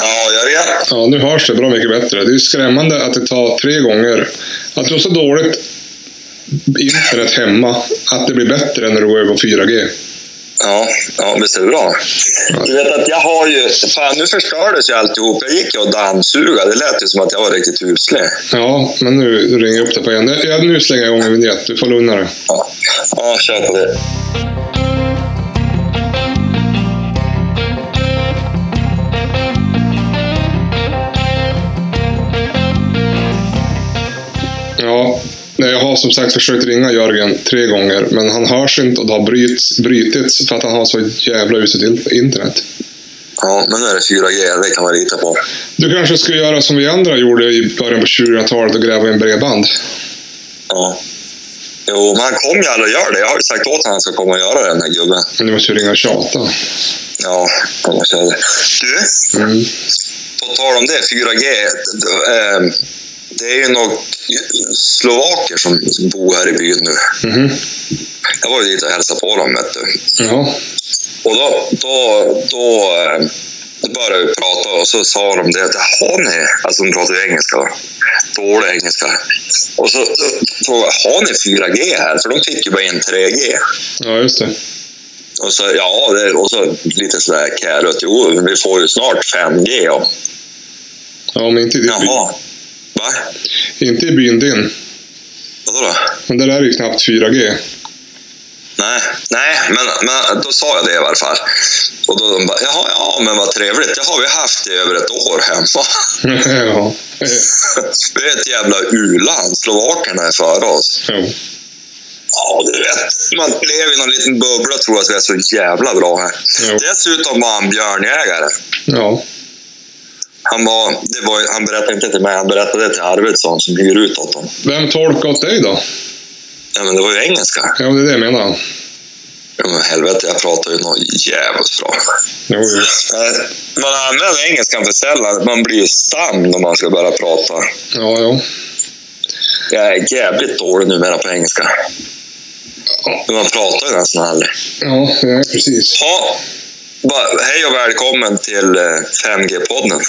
Ja, gör det. Ja, nu hörs det bra mycket bättre. Det är ju skrämmande att det tar tre gånger. Att du har så dåligt internet hemma, att det blir bättre när du går över på 4G. Ja, ja visst är det bra. Du vet att jag har ju... Fan, nu förstördes ju alltihop. Jag gick ju och dammsuga. Det lät ju som att jag var riktigt uslig. Ja, men nu ringer jag upp det på igen. Ja, nu slänger jag igång en vignett. Du får lugna dig. Ja, ja kör på det. Ja, nej, jag har som sagt försökt ringa Jörgen tre gånger, men han hörs inte och det har bryts, brytits för att han har så jävla uselt in- internet. Ja, men nu är det 4G. Det kan man lita på. Du kanske skulle göra som vi andra gjorde i början på 2000-talet och gräva in bredband? Ja. Jo, men han kommer ju aldrig och gör det. Jag har ju sagt åt honom att han ska komma och göra det, den här gubben. Men du måste ju ringa och tjata. Ja, han måste göra det. Du, Mm. på tal om det, 4G. eh, Det är ju några slovaker som bor här i byn nu. Mhm. Jag var ju dit och hälsade på dem, vet du. Ja. Och då, då, då, eh, då började vi prata och så sa de det att jaha ni, alltså de pratar ju engelska då, dålig engelska. Och så så frågade jag, har ni 4G här? För de fick ju bara in 3G. ja, just det. Och så, ja, det, och så lite sådär kärut, jo vi får ju snart 5G. Och, Ja, men inte i, din by, jaha, va? inte i byn din. Vadå då? Men det där är ju knappt 4G. Nej, nej men, men då sa jag det i varje fall. Och då de bara, jaha, ja men vad trevligt, det har vi haft i över ett år hemma. ja. Vi är ett jävla u-land. Slovakerna är före oss. Jo. Ja, du vet. Man lever i någon liten bubbla och tror att vi är så jävla bra här. Jo. Dessutom var han björnjägare. Ja. Han, var, det var, ju- han berättade inte till mig, han berättade det till Arvidsson som hyr ut åt honom. Vem tolkar åt dig då? Ja, men det var ju engelska. Ja, det är det jag menar. Ja, men helvete, jag pratar ju något jävligt bra. Jo, jo. Eh, Man använder engelskan för sällan. Man blir ju stam när man ska börja prata. Ja, ja. Jag är jävligt dålig numera på engelska. Men man pratar ju nästan aldrig. Ja, ja precis. Ja, va, hej och välkommen till eh, 5G-podden.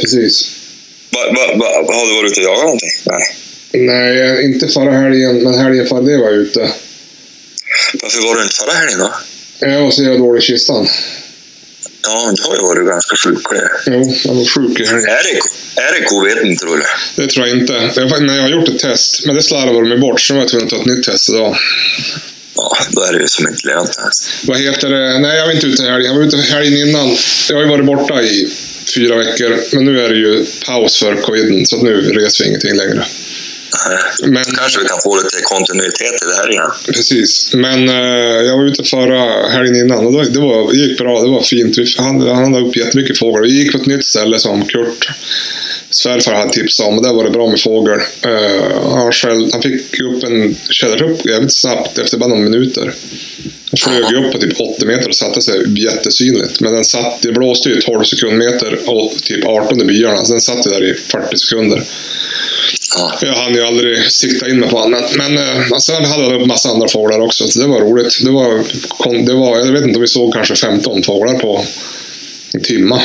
Precis. Va, va, va, har du varit ute och jagat någonting? Nej. Nej, inte förra helgen, men helgen före det var jag ute. Varför var du inte förra helgen då? Jag var så jävla dålig i kistan. Ja, du har ju varit ganska sjuklig. Jo, jag var sjuk i helgen. Är det, är det covid tror du? Det tror jag inte. Jag, var- nej, jag har gjort ett test, men det slarvade de ju bort, så nu var jag tvungen att ta ett nytt test idag. Ja, då är det ju som inte lönt ens. Vad heter det? Nej, jag var inte ute i helgen. Jag var ute helgen innan. Jag har ju varit borta i fyra veckor, men nu är det ju paus för coviden, så att nu reser vi ingenting längre. Nej. Men, Kanske vi kan få lite kontinuitet i det här igen. precis. Men eh, jag var ute förra helgen innan och då, det, var, det gick bra. Det var fint. Vi, han, han hade upp jättemycket fågel. Vi gick på ett nytt ställe som Kurt svärfar hade tipsat om och där var det bra med fågel. Eh, han, själv, han fick upp en tjädertupp jävligt snabbt efter bara några minuter. Den flög ju upp på typ 80 meter och satte sig jättesynligt. Men den satt, det blåste ju 12 sekundmeter och typ 18 i byarna. Så den satt ju där i 40 sekunder. Ja. Jag hann ju aldrig sikta in mig på annat. Men eh, alltså, sen hade han upp massa andra fåglar också, så det var roligt. Det var, kon- det var, jag vet inte om vi såg kanske 15 fåglar på en timma.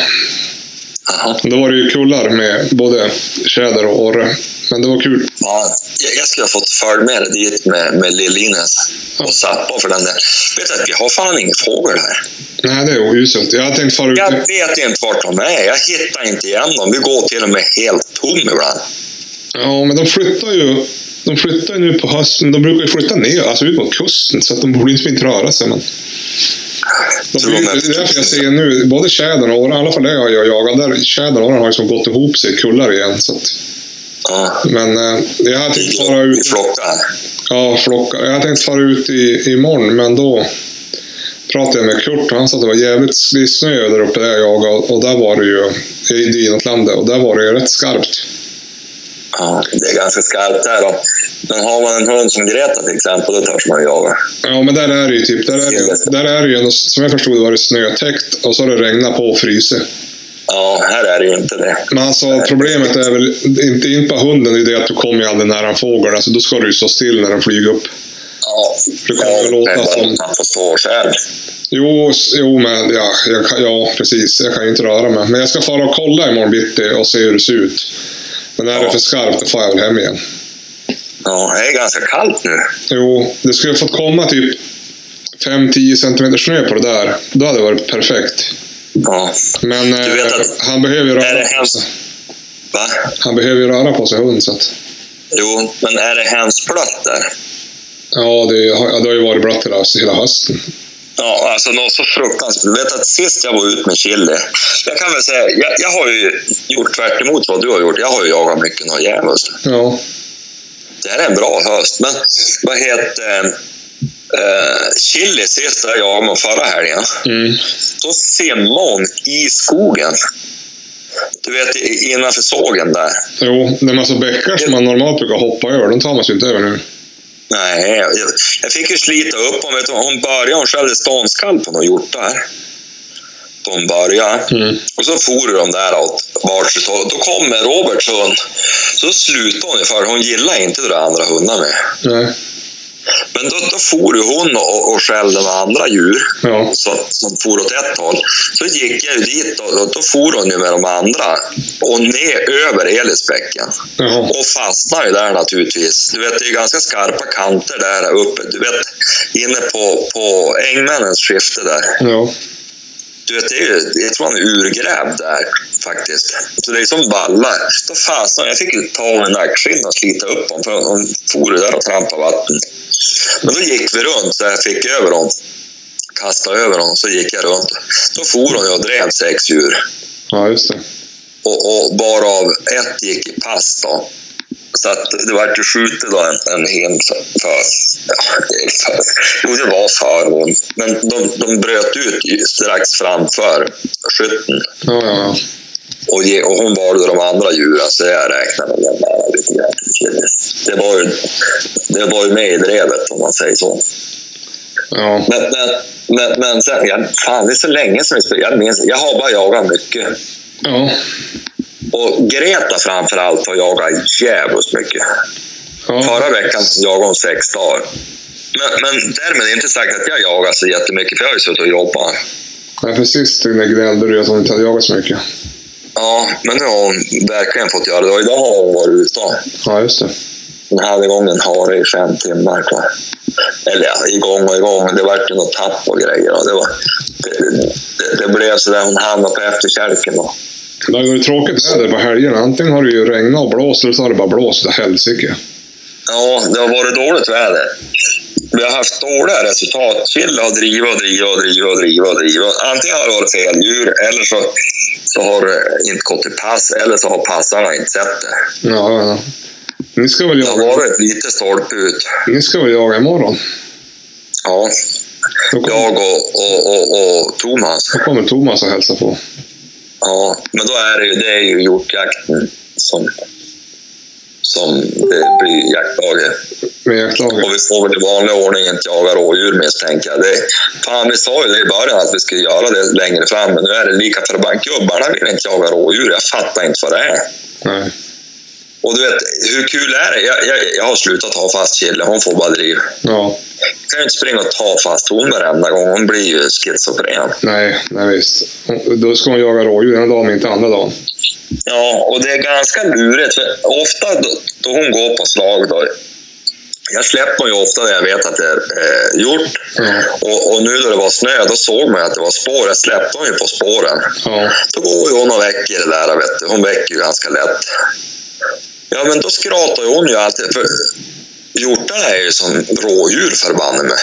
Jaha. Men Då var det ju kullar med både tjäder och orre. Men det var kul. Ja, jag, jag skulle ha fått följa med dig dit med, med Lill-Ines och Zappa för den där. Vet du att vi har fan ingen fågel här. Nej, det är uselt. Jag hade tänkt fara ut. Jag vet inte vart de är. Jag hittar inte igen dem. Vi går till och med helt tom ibland. Ja, men de flyttar ju. De flyttar ju nu på hösten. De brukar ju flytta ner, alltså ut mot kusten. Så att de borde liksom inte röra sig. Men de Så de blir, är det är därför jag förtjusta. ser nu, både tjädern och orren, i alla fall det jag jag jagar, där tjädern och orren har liksom gått ihop sig i kullar igen. Så att, Ja. men eh, jag hade tänkt fara Vi ut, flockar. ja, flockar. Jag hade tänkt fara ut i, imorgon, men då pratade jag med Kurt och han sa att det var jävligt det är snö där uppe där jag jagade. Och, och där var det ju, i det är inåt landet, och där var det ju rätt skarpt. Ja, det är ganska skarpt här då. Men har man en hund som Greta till exempel, då törs man ju jaga. Ja, men där är det ju typ, där är, det- där är det ju, ändå- som jag förstod det var det snötäckt och så har det regnat på och frysit. Ja, här är det ju inte det. Men alltså problemet är väl, inte in på hunden, det är det att du kommer ju aldrig nära en fågel. Alltså då ska du ju stå still när den flyger upp. Ja, Det kommer att låta som- Man får stå själv. Jo, s- jo men ja, jag kan, ja, precis. Jag kan ju inte röra mig. Men jag ska fara och kolla imorgon bitti och se hur det ser ut. Men är det Ja. för skarpt, då får jag väl hem igen. Ja, det är ganska kallt nu. Jo, det skulle fått komma typ 5-10 centimeter snö på det där. Då hade det varit perfekt. Ja. Men Du vet eh, att- han behöver ju Är röra det på sig. hemskt? Va? Han behöver ju röra på sig hund, så att... Jo, men är det hemskt blött där? Ja, det, har- ja, det har ju varit blött hela, hela hösten. Ja, alltså något så fruktansvärt. Du vet att sist jag var ute med Chili. Jag kan väl säga, jag, jag har ju gjort tvärt emot vad du har gjort. Jag har ju jagat mycket något djävulskt. Ja. Det här är en bra höst, men vad heter eh, Chili sist jag jagade med förra helgen. Mm. Då simmade hon i skogen. Du vet i- innanför sågen där. Jo, det är massa bäckar som man normalt brukar hoppa över. De tar man sig inte över nu. Nej, jag, jag fick ju slita upp hon. Vet du, hon började, hon skällde ståndskall på någon hjortar. De började. Mm. Och så for de där åt varsitt håll. Då kommer Roberts hund. Så slutade hon ju för hon gillar inte det där andra hundar med. Nej. Men då, då for ju hon och, och skällde med andra djur Ja. som, som for åt ett håll. Så gick jag ju dit och, och då for hon ju med de andra och ner över Elisbäcken. Jaha. Och fastnar ju där naturligtvis. Du vet, det är ju ganska skarpa kanter där uppe. Du vet, inne på, på Engmännens skifte där. Ja. Du vet, det är ju, jag tror han är urgrävd där faktiskt. Så det är som vallar. Då fastnade jag. Jag fick ju ta av en nackskinn och slita upp honom, för hon for ju där och trampade vatten. Men då gick vi runt så jag fick över honom. Kastade över honom, så gick jag runt. Då for hon ju och drev sex djur. Ja, just det. Och, och varav ett gick i pass då. Så att det vart ju skjutet då en, en hen för, för, ja, det är för... Jo, det var för hon. Men de, de bröt ut ju strax framför skytten. Ja, ja, ja. Och, ge, och hon valde de andra djuren, så jag räknade med den där lite grann. till Kines. Det var, ju, det var ju med i drevet, om man säger så. Ja. Men, men, men, men sen, ja, fan, det är så länge som vi spelar. Jag, minns, jag har bara jagat mycket. Ja. Och Greta framför allt har jagat jävligt mycket. Ja. Förra veckan jagade hon sex dagar. Men, men därmed inte sagt att jag jagar så jättemycket, för jag har ju suttit och jobbat. ja precis. Det där gnällde du att hon inte hade jagat så mycket. Ja, men nu har hon verkligen fått göra det. Och idag har hon varit ute. Ja, just det. Den här gången har det i fem timmar kvar. Eller ja, igång och igång. Det vart ju något tapp och grejer. Och det, var, det, det, det blev sådär, hon hamnade på efterkälken. Och, Det har ju varit tråkigt väder på helgerna. Antingen har det ju regnat och blåst eller så har det bara blåst åt helsike. Ja, det har varit dåligt väder. Vi har haft dåliga resultat. Chile har drivit och drivit och drivit och drivit. Och drivit. Antingen har det varit fel djur eller så, så har det inte gått till pass eller så har passarna inte sett det. Ja, ja, ja. Ni ska väl Det har jaga, varit lite stolpe ut. ni ska väl jaga imorgon? Ja, Då kommer, jag och, och, och, och Thomas. då kommer Thomas och hälsa på. Ja, men då är det ju, det är ju hjortjakten som, som det blir jaktdagen. Med jaktlaget. Och vi får väl i vanlig ordning inte jaga rådjur misstänker jag. Det, fan, vi sa ju det i början att vi skulle göra det längre fram, men nu är det lika förbannat. Gubbarna vill inte jaga rådjur. Jag fattar inte vad det är. Nej. Och du vet, hur kul är det? Jag, jag, jag har slutat ha fast Chille. Hon får bara driv. Ja. Jag kan ju inte springa och ta fast hon varenda gång. Hon blir ju schizofren. Nej, nej visst. Hon- Då ska hon jaga rådjur ena dagen, men inte andra dagen. Ja, och det är ganska lurigt. För ofta då, då hon går på slag, då, jag släpper ju ofta när jag vet att det är eh, gjort. Ja. Och, och nu då det var snö, då såg man ju att det var spår. Jag släppte hon ju på spåren. Ja. Då går ju hon och väcker det där, vet du. Hon väcker ju ganska lätt. Ja, men då skrattar ju hon ju alltid. För hjortarna är ju som rådjur förbanne mig.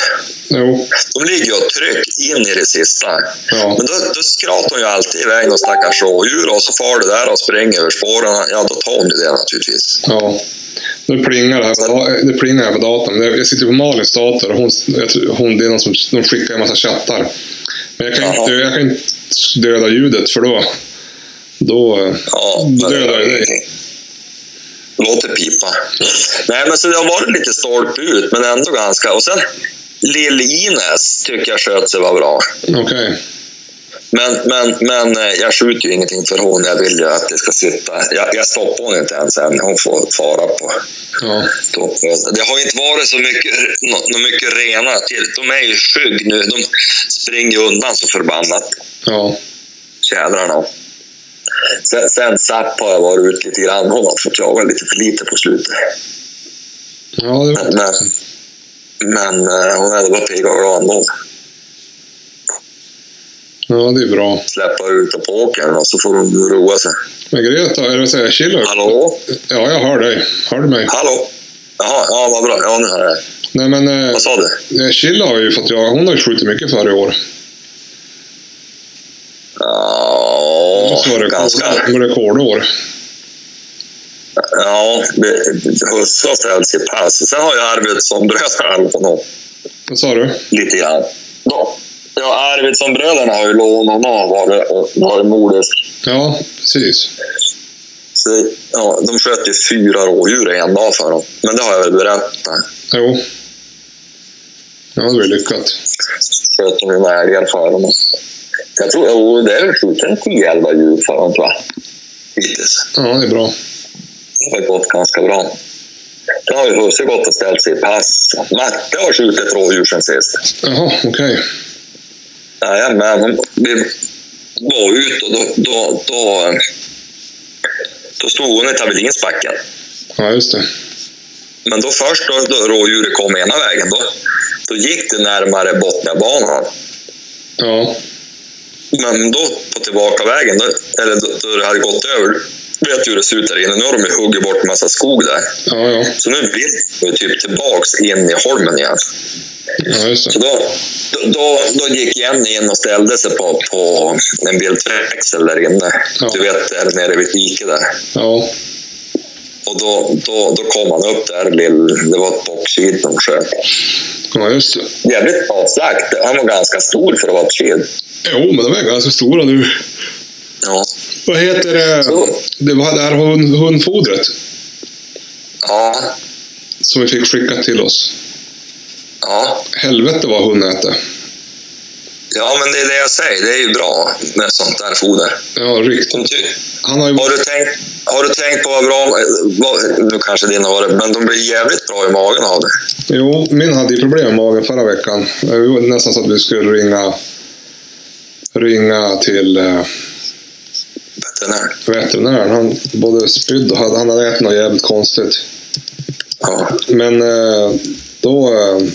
Jo. De ligger ju och trycker in i det sista. Ja. Men då, då skrattar hon ju alltid iväg någon stackars rådjur och så far det där och springer över spåren. Ja, då tar hon ju det naturligtvis. Ja. Nu plingar det här på, da- det plingar här på datorn. Jag sitter på Malins dator och hon, jag tror, hon, det är någon som de skickar en massa chattar. Men jag kan, Jaha. inte, jag kan inte döda ljudet för då... Då... eh, Ja, men Det gör det. ingenting. Låt det pipa. Nej, men så det har varit lite stolpe ut, men ändå ganska. Och sen Lill-Ines tycker jag sköt sig var bra. Okej. Men, men, men eh, jag skjuter ju ingenting för hon. Jag vill ju att det ska sitta. Jag, jag stoppar hon inte ens än. Hon får fara på. Ja. Då. Det har ju inte varit så mycket, nå- nå mycket renar till. De är ju skygg nu. De springer ju undan så förbannat, Ja. tjädrarna. Sen, sen Zapp har jag varit ute lite grann. Hon har fått jaga lite för lite på slutet. Ja, det var Men, men, men eh, hon är bara pigg och glad ändå. Ja, det är bra. Släppa ut och på åkern och så får hon roa sig. Men Greta, eller vad säger jag, Kilo? Hallå? Ja, jag hör dig. Hör du mig? Hallå? Jaha, ja vad bra. Ja, nu hör jag. Nej, men eh, Vad sa du? eh, Kilo har ju fått jaga. Hon har ju skjutit mycket förra i år. Ja, måste vara ganska. rekord, rekordår. Ja, husse har ställt sig pass. Sen har jag Arvidsson-bröderna lånat honom Vad sa du? lite grann. Då. Ja, Arvidsson-bröderna har ju lånat honom varit, och varit modisk. Ja, precis. Så, ja, de sköt ju fyra rådjur i en dag för dem. Men det har jag väl berättat. Jo. Ja, det var ju lyckat. Sköt de ju med älgar för dem. Jag tror, jo, det är väl skjutit en 10-11 djur för dem tror jag. Hittills. Ja, det är bra. Det har gått ganska bra. Det har ju husse gått och ställt sig i pass. Matte har skjutit rådjur sen sist. Jaha, okej. Jajamän, hon- vi var ute och då, då, då, då stod hon i Tavelins backen. Ja, just det. Men då först då, då rådjuret kom ena vägen, då, då gick det närmare Botniabanan. Ja, Men då på tillbaka vägen, då, eller då, då det hade gått över, vet du hur det ser ut där inne. Nu har de ju huggit bort en massa skog där. ja, ja. Så nu vill vi typ tillbaks in i holmen igen. ja just Så det. då, då, då, då gick Jenny in och ställde sig på, på en bilväxel där inne. Ja. Du vet, där nere vid diket där. Ja, Och då, då, då kom han upp där, lill, det var ett bockskid som sköt. ja just det. Jävligt avslakt. Han var ganska stor för att vara ett skid. Jo, men de är ganska stora nu. Ja. Vad heter det? Så. Det var det här hund, hundfodret Ja. som vi fick skicka till oss. ja. Helvete vad hon äter. Ja, men det är det jag säger. Det är ju bra med sånt där foder. Ja, riktigt. Som ty- Han har ju Har du tänkt, har du tänkt på vad bra... Vad, nu kanske din har det, men de blir jävligt bra i magen av det. Jo, min hade ju problem med magen förra veckan. Det var nästan så att vi skulle ringa ringa till eh, Den här. veterinären. Han både spydde och hade, han hade ätit något jävligt konstigt. Ja. Men eh, då, eh,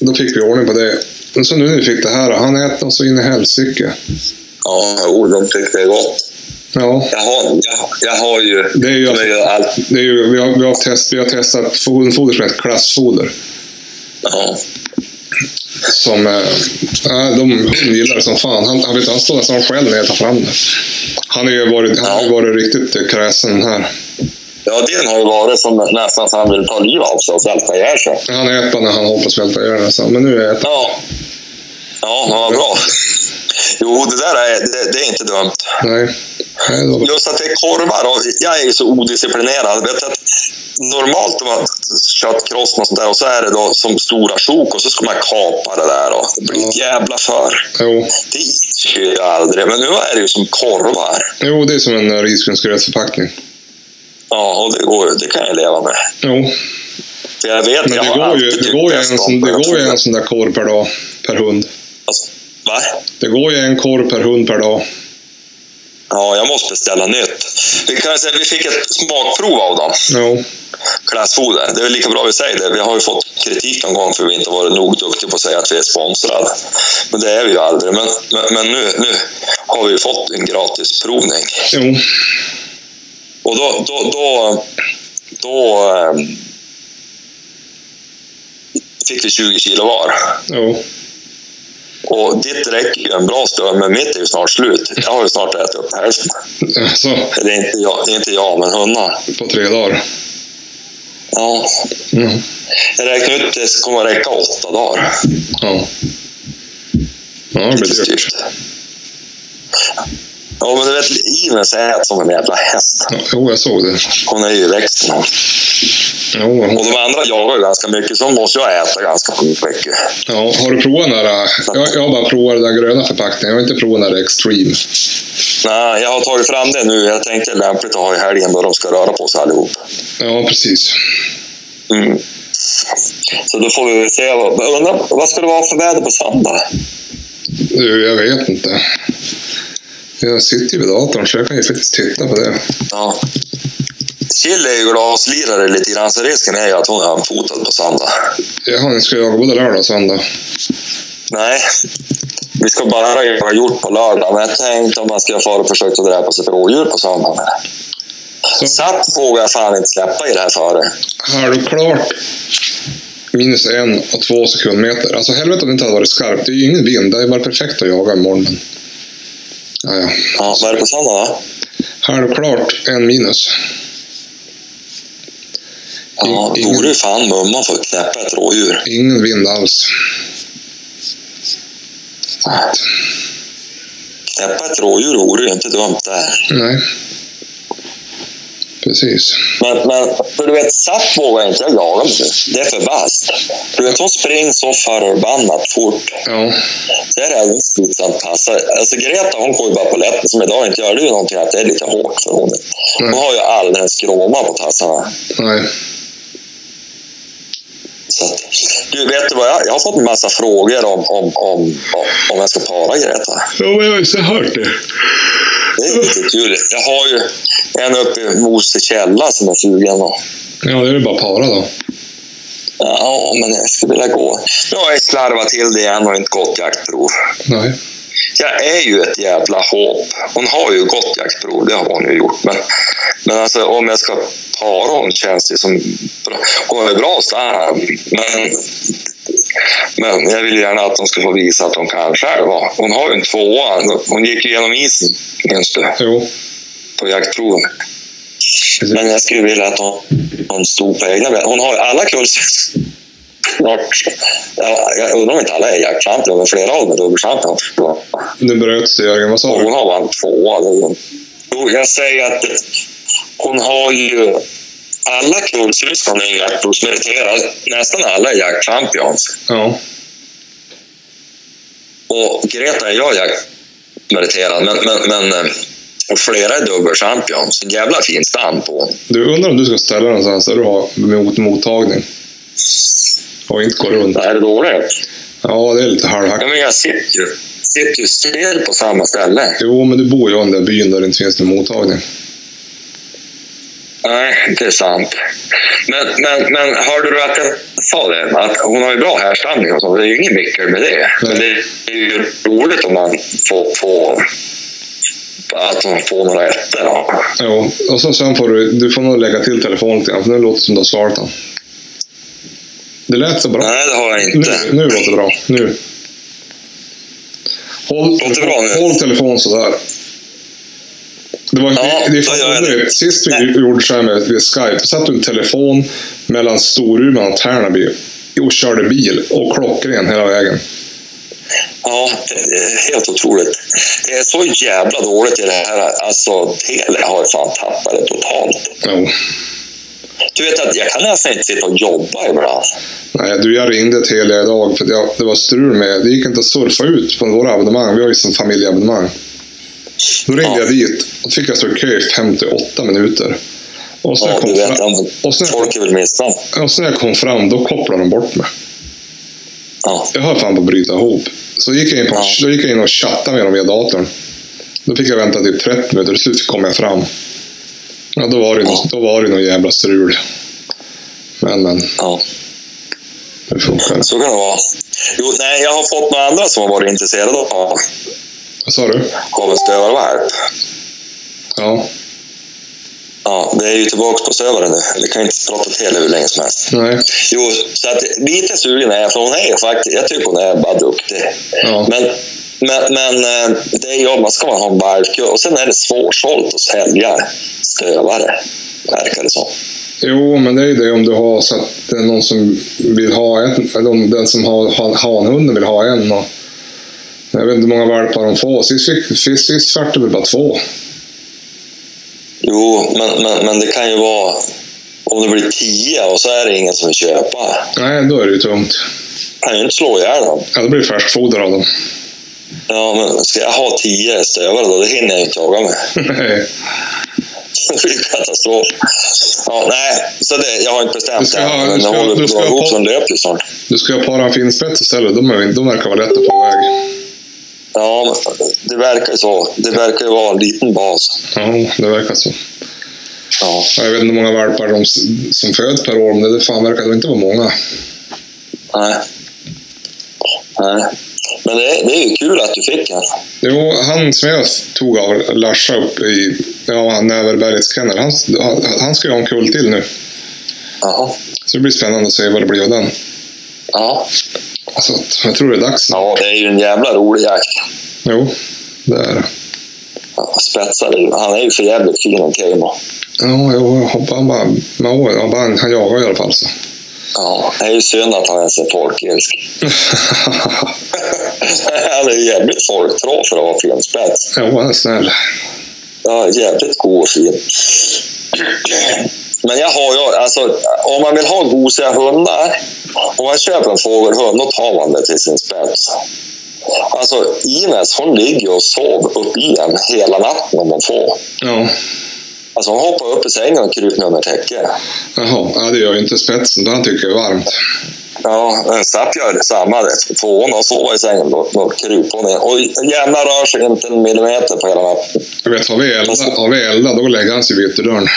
då fick vi ordning på det. Men så nu när vi fick det här, han äter något så in i helsike. Ja, jo, de tyckte det är gott. Ja, Jag har, jag, jag har ju... det är ju, alltså- Det är ju allt. det är ju vi, har, vi, har test, vi har testat hundfoder som heter klassfoder. Ja. Som, eh, äh, de hunden gillar det som fan. Han, han, vet, han står nästan själv när jag tar fram det. Han har ju varit, han har ju varit riktigt eh, kräsen den här. ja, din har ju varit som nästan så han vill ta livet av sig och svälta ihjäl sig. Han äter när han hoppas välta ihjäl nästan. Men nu äter Ja. Ja, ja, vad bra. Jo, det där är, det, det är inte dumt. han. Nej. Nej, då, Just att det är korvar. Och jag är ju så odisciplinerad. Vet du att normalt om man köttkross och sånt där och så är det då som stora sjok och så ska man kapa det där. Och det blir ett jävla för. jo. Det gick ju aldrig. Men nu är det ju som korvar. jo, det är som en eh, risgrynsgrötsförpackning. Ja, och det, går, ju- det kan jag leva med. Jo, För jag vet, men jag det har går, ju, alltid det, tyckt går ju bäst om en sån, det den. går ju en sån där korv per dag, per hund. Alltså, Va? Det går ju en korv per hund per dag. Ja, jag måste beställa nytt. Vi, kan säga, vi fick ett smakprov av dem, Jo, klassfoder. Det är väl lika bra vi säger det. Vi har ju fått kritik någon gång för att vi inte varit nog duktiga på att säga att vi är sponsrade. Men det är vi ju aldrig. Men, men, men nu, nu har vi fått en gratis provning. jo. Och då... då, då, då ehm, fick vi 20 kilo var. jo. Och ditt räcker ju en bra stund, men mitt är ju snart slut. Jag har ju snart ätit upp hälften. Alltså, Eller inte jag, inte jag men hundarna. på tre dagar. Ja, Mm. jag räknar ut att det kommer att räcka åtta dagar. Ja. Ja, det blir dyrt. Styrt. Ja, men du vet, Ines är som en jävla häst. Jo, jag såg det. Hon är ju växt nu. Jo, Och de andra jagar ju ganska mycket, så måste jag äta ganska mycket. ja, har du provat den där? Jag, jag har bara provat den där gröna förpackningen. Jag har inte provat den där Extreme. Nej, jag har tagit fram det nu. Jag tänkte lämpligt att ha i helgen då de ska röra på sig allihop. Ja, precis. Mm. Så då får vi se. Jag Undrar, vad ska det vara för väder på söndag? Du, jag vet inte. Jag sitter ju vid datorn så jag kan ju faktiskt titta på det. Ja. Chill är ju glaslirare lite grann, så risken är ju att hon är handfotad på söndag. Jaha, ni ska jaga både lördag och söndag? Nej, vi ska bara göra gjort på lördag, men jag tänkte om man ska fara och försöka dräpa sig på rådjur på söndagen. Så. Satt vågar jag fan inte släppa i det här före. Har du klart minus en och två sekundmeter? Alltså helvete om det inte hade varit skarpt. Det är ju ingen vind. Det hade varit perfekt att jaga imorgon. Men... Ja, ja. Ja, vad är det på söndag då? Halvklart en minus. Ja, Ingen- vore ju fan mumman för att knäppa ett rådjur. Ingen vind alls. Knäppa ett rådjur vore ju inte dumt där. Nej. Precis. Men, men för du vet, Satt vågar inte jag jaga mig. Det är för vasst. Du vet, hon springer så förbannat fort. Ja. Så är det alldeles skitsamt passar. Alltså Greta, hon går ju bara på läppen som idag inte gör. Det är ju någonting att det är lite hårt för hon. Hon Mm. har ju all den skråma på tassarna. Nej. Så att, du, vet du vad? Jag, jag har fått en massa frågor om, om, om, om, om jag ska para Greta. Ja, men jag har inte hört det. Det är lite kul. Jag har ju en uppe i Mosekälla som är sugen. Och, Ja, det är ju bara para då. ja, men jag skulle vilja gå. Nu har jag slarvat till det igen och inte gått jaktprov. Nej. Jag är ju ett jävla håp. Hon har ju gått jaktprov, det har hon ju gjort. Men, men alltså, om jag ska para hon känns det som... bra. Hon är bra stam, men, men jag vill gärna att hon ska få visa att hon kan själva. Hon har ju en tvåa. Hon gick ju genom isen, minns du, Jo. på jaktproven. Men jag skulle vilja att hon, hon stod på egna ben. Hon har ju alla kurser. Snart. Jag, jag undrar om inte alla är jaktchampion, men flera av dem är dubbelchampion. Nu bröts det Jörgen. Vad sa Hon du? har bara en tvåa. Jo, jag säger att hon har ju... Alla kullsyskon är jaktprovsmeriterade. Nästan alla är jaktchampions. Ja. Och Greta är jag jaktmeriterad, men, men, men... eh, Och flera är dubbelchampions. En jävla fin stam på hon. Du, undrar om du ska ställa den någonstans där du har mot mottagning. Och inte gå runt. Det här är dåligt. Ja, det är lite halvhack. Ja, men jag sitter ju sitter ju still på samma ställe. Jo, men du bor ju i den där byn där det inte finns någon mottagning. Nej, det är sant. Men, men, men hörde du att jag sa det? Att hon har ju bra härstamning och så. Det är ju inget mycket med det. Men det är ju roligt om man får, får att hon får några ettor. då. Jo, och så sen får du, du får nog lägga till telefonen lite grann, för nu låter det som du har svarat den. Det lät så bra. Nej, det har jag Nu, inte. nu låter det bra. Nu. Håll, Låter bra nu. håll telefonen sådär. Det var Ja, det då är gör jag fan det. underligt. Sist vi Nej. gjorde så här med, med Skype, då satt du en telefon mellan Storuman och Tärnaby och körde bil och klockren hela vägen. Ja, det är helt otroligt. Det är så jävla dåligt i det här. Alltså, tele har ju fan tappat det totalt. Jo. Du vet att jag kan nästan inte sitta och jobba ibland. Nej, du, jag ringde Telia idag för att jag, det var strul med... Det gick inte att surfa ut på våra abonnemang. Vi har ju som familjeabonnemang. Då ringde Ja. jag dit och då fick jag stå i kö i 58 minuter. Och sen, Ja, jag du kom vet, fram, om och sen, folk är väl missnöjda. och sen när jag kom fram, då kopplade de bort mig. Ja. Jag höll fan på att bryta ihop. Så gick jag in, på, Ja. då gick jag in och chattade med dem via datorn. Då fick jag vänta typ 30 minuter. Till slut kom jag fram. Ja, då var det, Ja. då var det någon jävla strul. Men, men. ja. Det funkar. Så kan det vara. Jo, nej, jag har fått några andra som har varit intresserade av, Vad sa du? av en stövarvalp. Ja. Ja, det är ju tillbaka på stövaren nu. Vi kan inte prata tele hur länge som helst. Nej. Jo, så att lite sugen är jag, för hon är ju faktiskt... Jag tycker hon är bara duktig. Ja. Men, men, men eh, det är ju, man ska man ha en valpkull. Och sen är det svårsålt att sälja stövare, verkar det som. Jo, men det är ju det om du har så att det är någon som vill ha en, eller om den som har han- hanhunden vill ha en och Jag vet inte hur många valpar de får. Sist, fick, sist, sist vart det väl bara två. Jo, men, men, men det kan ju vara... Om det blir tio och så är det ingen som vill köpa. Nej, då är det ju tungt. Kan ju inte slå ihjäl dem. Ja, då blir det färskfoder av dem. Ja, men ska jag ha tio stövare då? Det hinner jag ju inte jaga med. Det blir katastrof. Ja, nej, så det, jag har inte Du bestämt ska det ha- än. Men jag du ska- håller på du att ska dra ha ihop på- så den löper ju snart. du ska ju para en finspets istället. De, är, de verkar vara lätta på väg. Ja, men det verkar ju så. Det verkar ju vara en liten bas. Ja, det verkar så. Ja, Ja, Jag vet inte hur många valpar de s- som föds per år, men det fan verkar det inte vara många. nej. nej. Men det, är- det är ju kul att du fick en. Jo, han som jag tog av Larsa upp i ja, Näverbergets kennel, han, han, han ska ju ha en kull till nu. Jaha. Så det blir spännande att se vad det blir av den. Ja. Så att, jag tror det är dags nu. ja, det är ju en jävla rolig jakt. Jo, det är det. Ja, Spetsar ju. Han är ju för jävligt fin en Keimo. Ja, jo, jag hoppas han bara... Ja, han, bara, han jagar i alla fall så. Ja, det är ju synd att han ens är folkelsk. han är ju jävligt folktrå för att vara fin spets. jo, han är snäll. Ja, jävligt god och fin. Men jag har ju, alltså om man vill ha gosiga hundar, om man köper en fågelhund, då tar man det till sin spets. Alltså Ines, hon ligger och sov upp i en hela natten om hon får. Ja, Alltså hon hoppar upp i sängen och kryper under täcket. jaha. Ja, det gör ju inte spetsen, för han tycker det är varmt. Ja, en stapp gör detsamma. Får hon att sova i sängen, då, då kryper hon in. Och gärna rör sig inte en millimeter på hela natten. Jag vet, har vi eldat, har vi eldat då lägger han sig vid ytterdörren.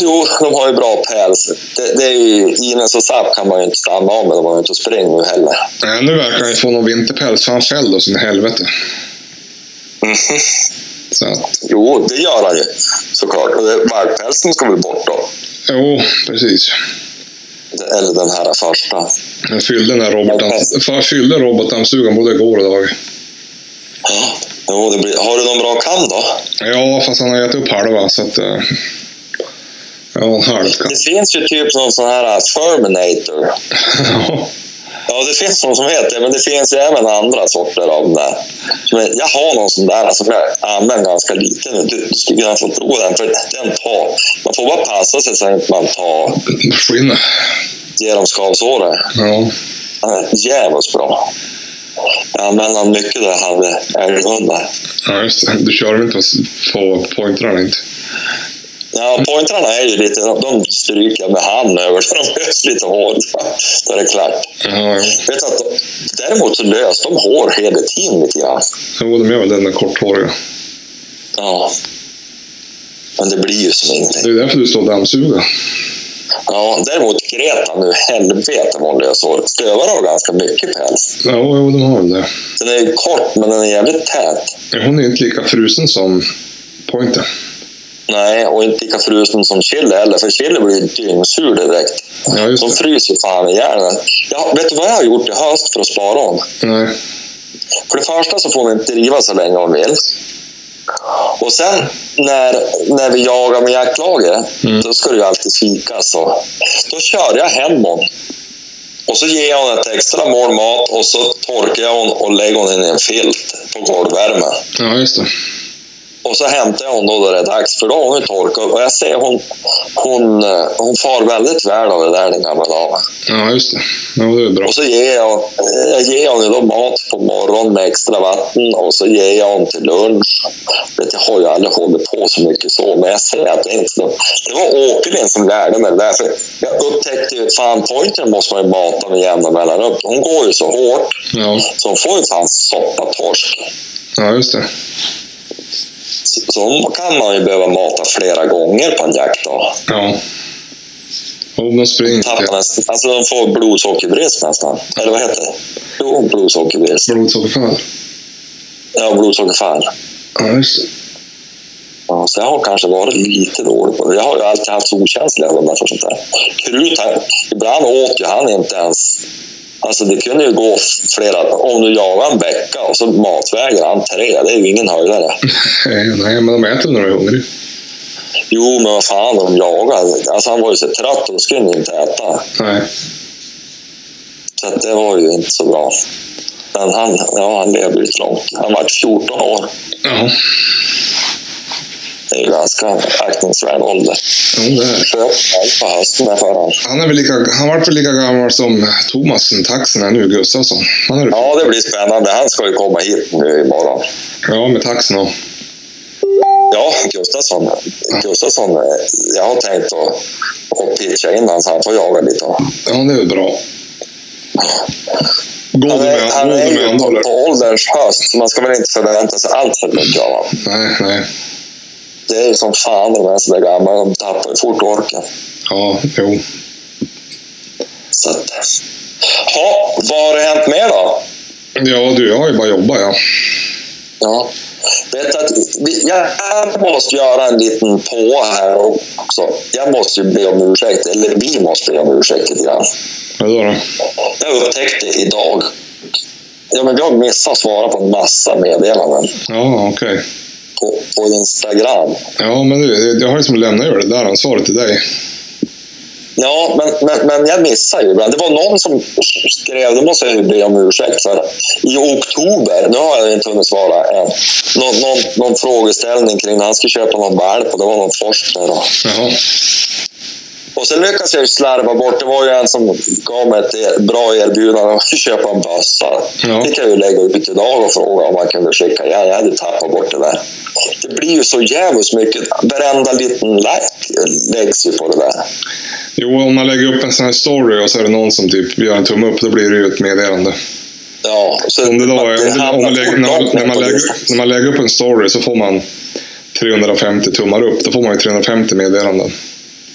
Jo, de har ju bra päls. Det, det är ju, Ines och Saab kan man ju inte stanna av med. De har ju inte att springa nu heller. Nej, nu verkar han ju få någon vinterpäls, för han fällde oss in i helvete. Så att, Jo, det gör han ju såklart. Och det- Valppälsen ska väl bort då. jo, precis. Det- Eller den här första. Jag fyllde den här robotdamm- för jag fyllde robotdammsugaren både igår och idag. Ja. Jo, det blir, har du någon bra kam då? Ja, fast han har gett upp halva, så att... eh, Ja, en halv Det kanske. finns ju typ någon sån här Terminator. Ja. Ja, det finns någon som heter det, men det finns ju även andra sorter av den där. Men jag har någon sån där som jag använder ganska lite nu. Du, du skulle kunna få prova den, för den tar... Man får bara passa sig så att man tar Skinnet. genom skavsåret. Ja. Han är Eh, jävligt bra. Jag använde han mycket där jag hade älghundar. ja, just det. Du kör väl inte på, på pointrarna inte? Ja, pointrarna är ju lite, de stryker jag med hand över så de löser lite hår. Då är det klart. Ja, jo. Vet du att de, däremot så löser de hår hela tiden lite grann. Jo, de gör väl den där korthåriga. Ja. Men det blir ju som ingenting. Det är därför du står och dammsugar. Ja, däremot Greta nu, helvete vad hon löser hår. Stövar har ganska mycket päls. Ja, jo, de har väl det. Den är ju kort, men den är jävligt tät. Men Hon är inte lika frusen som pointen. Nej, och inte lika frusen som Chile heller, för Chile blir ju dyngsur direkt. Ja, just De det. fryser fan ihjäl den. Jag, vet du vad jag har gjort i höst för att spara dem? Nej. För det första så får hon inte driva så länge hon vill. Och sen när, när vi jagar med jaktlaget, Mm. då ska det ju alltid fikas. Och, då kör jag hem hon. Och så ger jag hon ett extra mål mat och så torkar jag hon och lägger hon in i en filt på golvvärmen. Ja, just det. Och så hämtar jag honom då när det är dags, för då har hon ju torkat. Och jag ser hon, hon, eh, hon far väldigt väl av det där, den gamla damen. Ja, just det. Ja, det är bra. Och så ger jag, jag ger honom då mat på morgonen med extra vatten och så ger jag honom till lunch. Vet, jag har ju aldrig hållit på så mycket så, men jag ser att det är inte så. Det var Åkerlind som lärde mig det där. För jag upptäckte ju, fan pointern måste man ju mata med jämna mellanrum. Hon går ju så hårt, Ja, så hon får ju fan soppa torsk. ja just det. Så- Så hon kan man ju behöva mata flera gånger på en jaktdag. Ja. Och de springer Tappar inte. nästan, alltså de får blodsockerbrist nästan. Eller vad heter det? Jo, blodsockerbrist. Blodsockerfall. Ja, blodsockerfall. Ja, just det. Ja, så jag har kanske varit lite dålig på det. Jag har ju alltid haft så okänsliga hundar för sånt där. Krut, han, ibland åt ju han inte ens... Alltså det kunde ju gå flera... Om du jagar en vecka och så matväger han tre, det är ju ingen höjdare. Nej, nej, men de äter när de är hungriga. Jo, men vad fan, de jagar. Alltså han var ju så trött och då skulle han inte äta. Nej. Så att det var ju inte så bra. Nej, Men han, ja, han levde ut långt. Han var 14 år. Ja, Det är ju ganska aktningsvärd ålder. jo, det är. Sköt själv på hösten där förra året. Han, är väl lika, han var väl lika gammal som Thomas Taxen är nu, Gustafsson. Han är Ja, det blir spännande. Han ska ju komma hit nu imorgon. ja, med Taxen och... Ja, Gustafsson. Gustafsson, eh, jag har tänkt att, att pitcha in honom så han får jaga lite. Ja, det är väl bra. Går Han du är, med han är går du med ju ändå, på, eller? på ålderns höst, så man ska väl inte förvänta sig allt för mycket av honom. Nej, nej. Det är ju som fan de är sådär gamla, de tappar ju fort orken. Ja, jo. Så att... Ja, vad har det hänt mer då? Ja, du, jag har ju bara jobbat, ja. Ja. Vet att vi- jag måste göra en liten på här också. Jag måste ju be om ursäkt, eller vi måste be om ursäkt lite grann. Vad då? då? Jag upptäckte idag. Ja, men vi har missat att svara på en massa meddelanden Ja, okej. på, på Instagram. Ja, men du, jag har ju som lämnat över det där ansvaret till dig. Ja, men, men, men jag missar ju ibland. Det var någon som skrev, det måste jag ju be om ursäkt för, i oktober, nu har jag inte hunnit svara än, någon, någon, någon frågeställning kring när han skulle köpa någon valp och det var någon forskare. Då. Jaha. Och sen lyckades jag ju slarva bort, det var ju en som gav mig ett er- bra erbjudande att köpa en bössa. Ja. Det kan jag ju lägga ut idag och fråga om man kunde skicka. Ja, jag hade tappat bort det där. Det blir ju så jävligt mycket. Varenda liten like läggs ju på det där. Jo, om man lägger upp en sån här story och så är det någon som typ gör en tumme upp, då blir det ju ett meddelande. Ja, så Om det då är, om det, om man hamnar lägger, fort när, man, långt ner när, man på lägger, listan. när man lägger upp en story så får man 350 tummar upp. Då får man ju 350 meddelanden.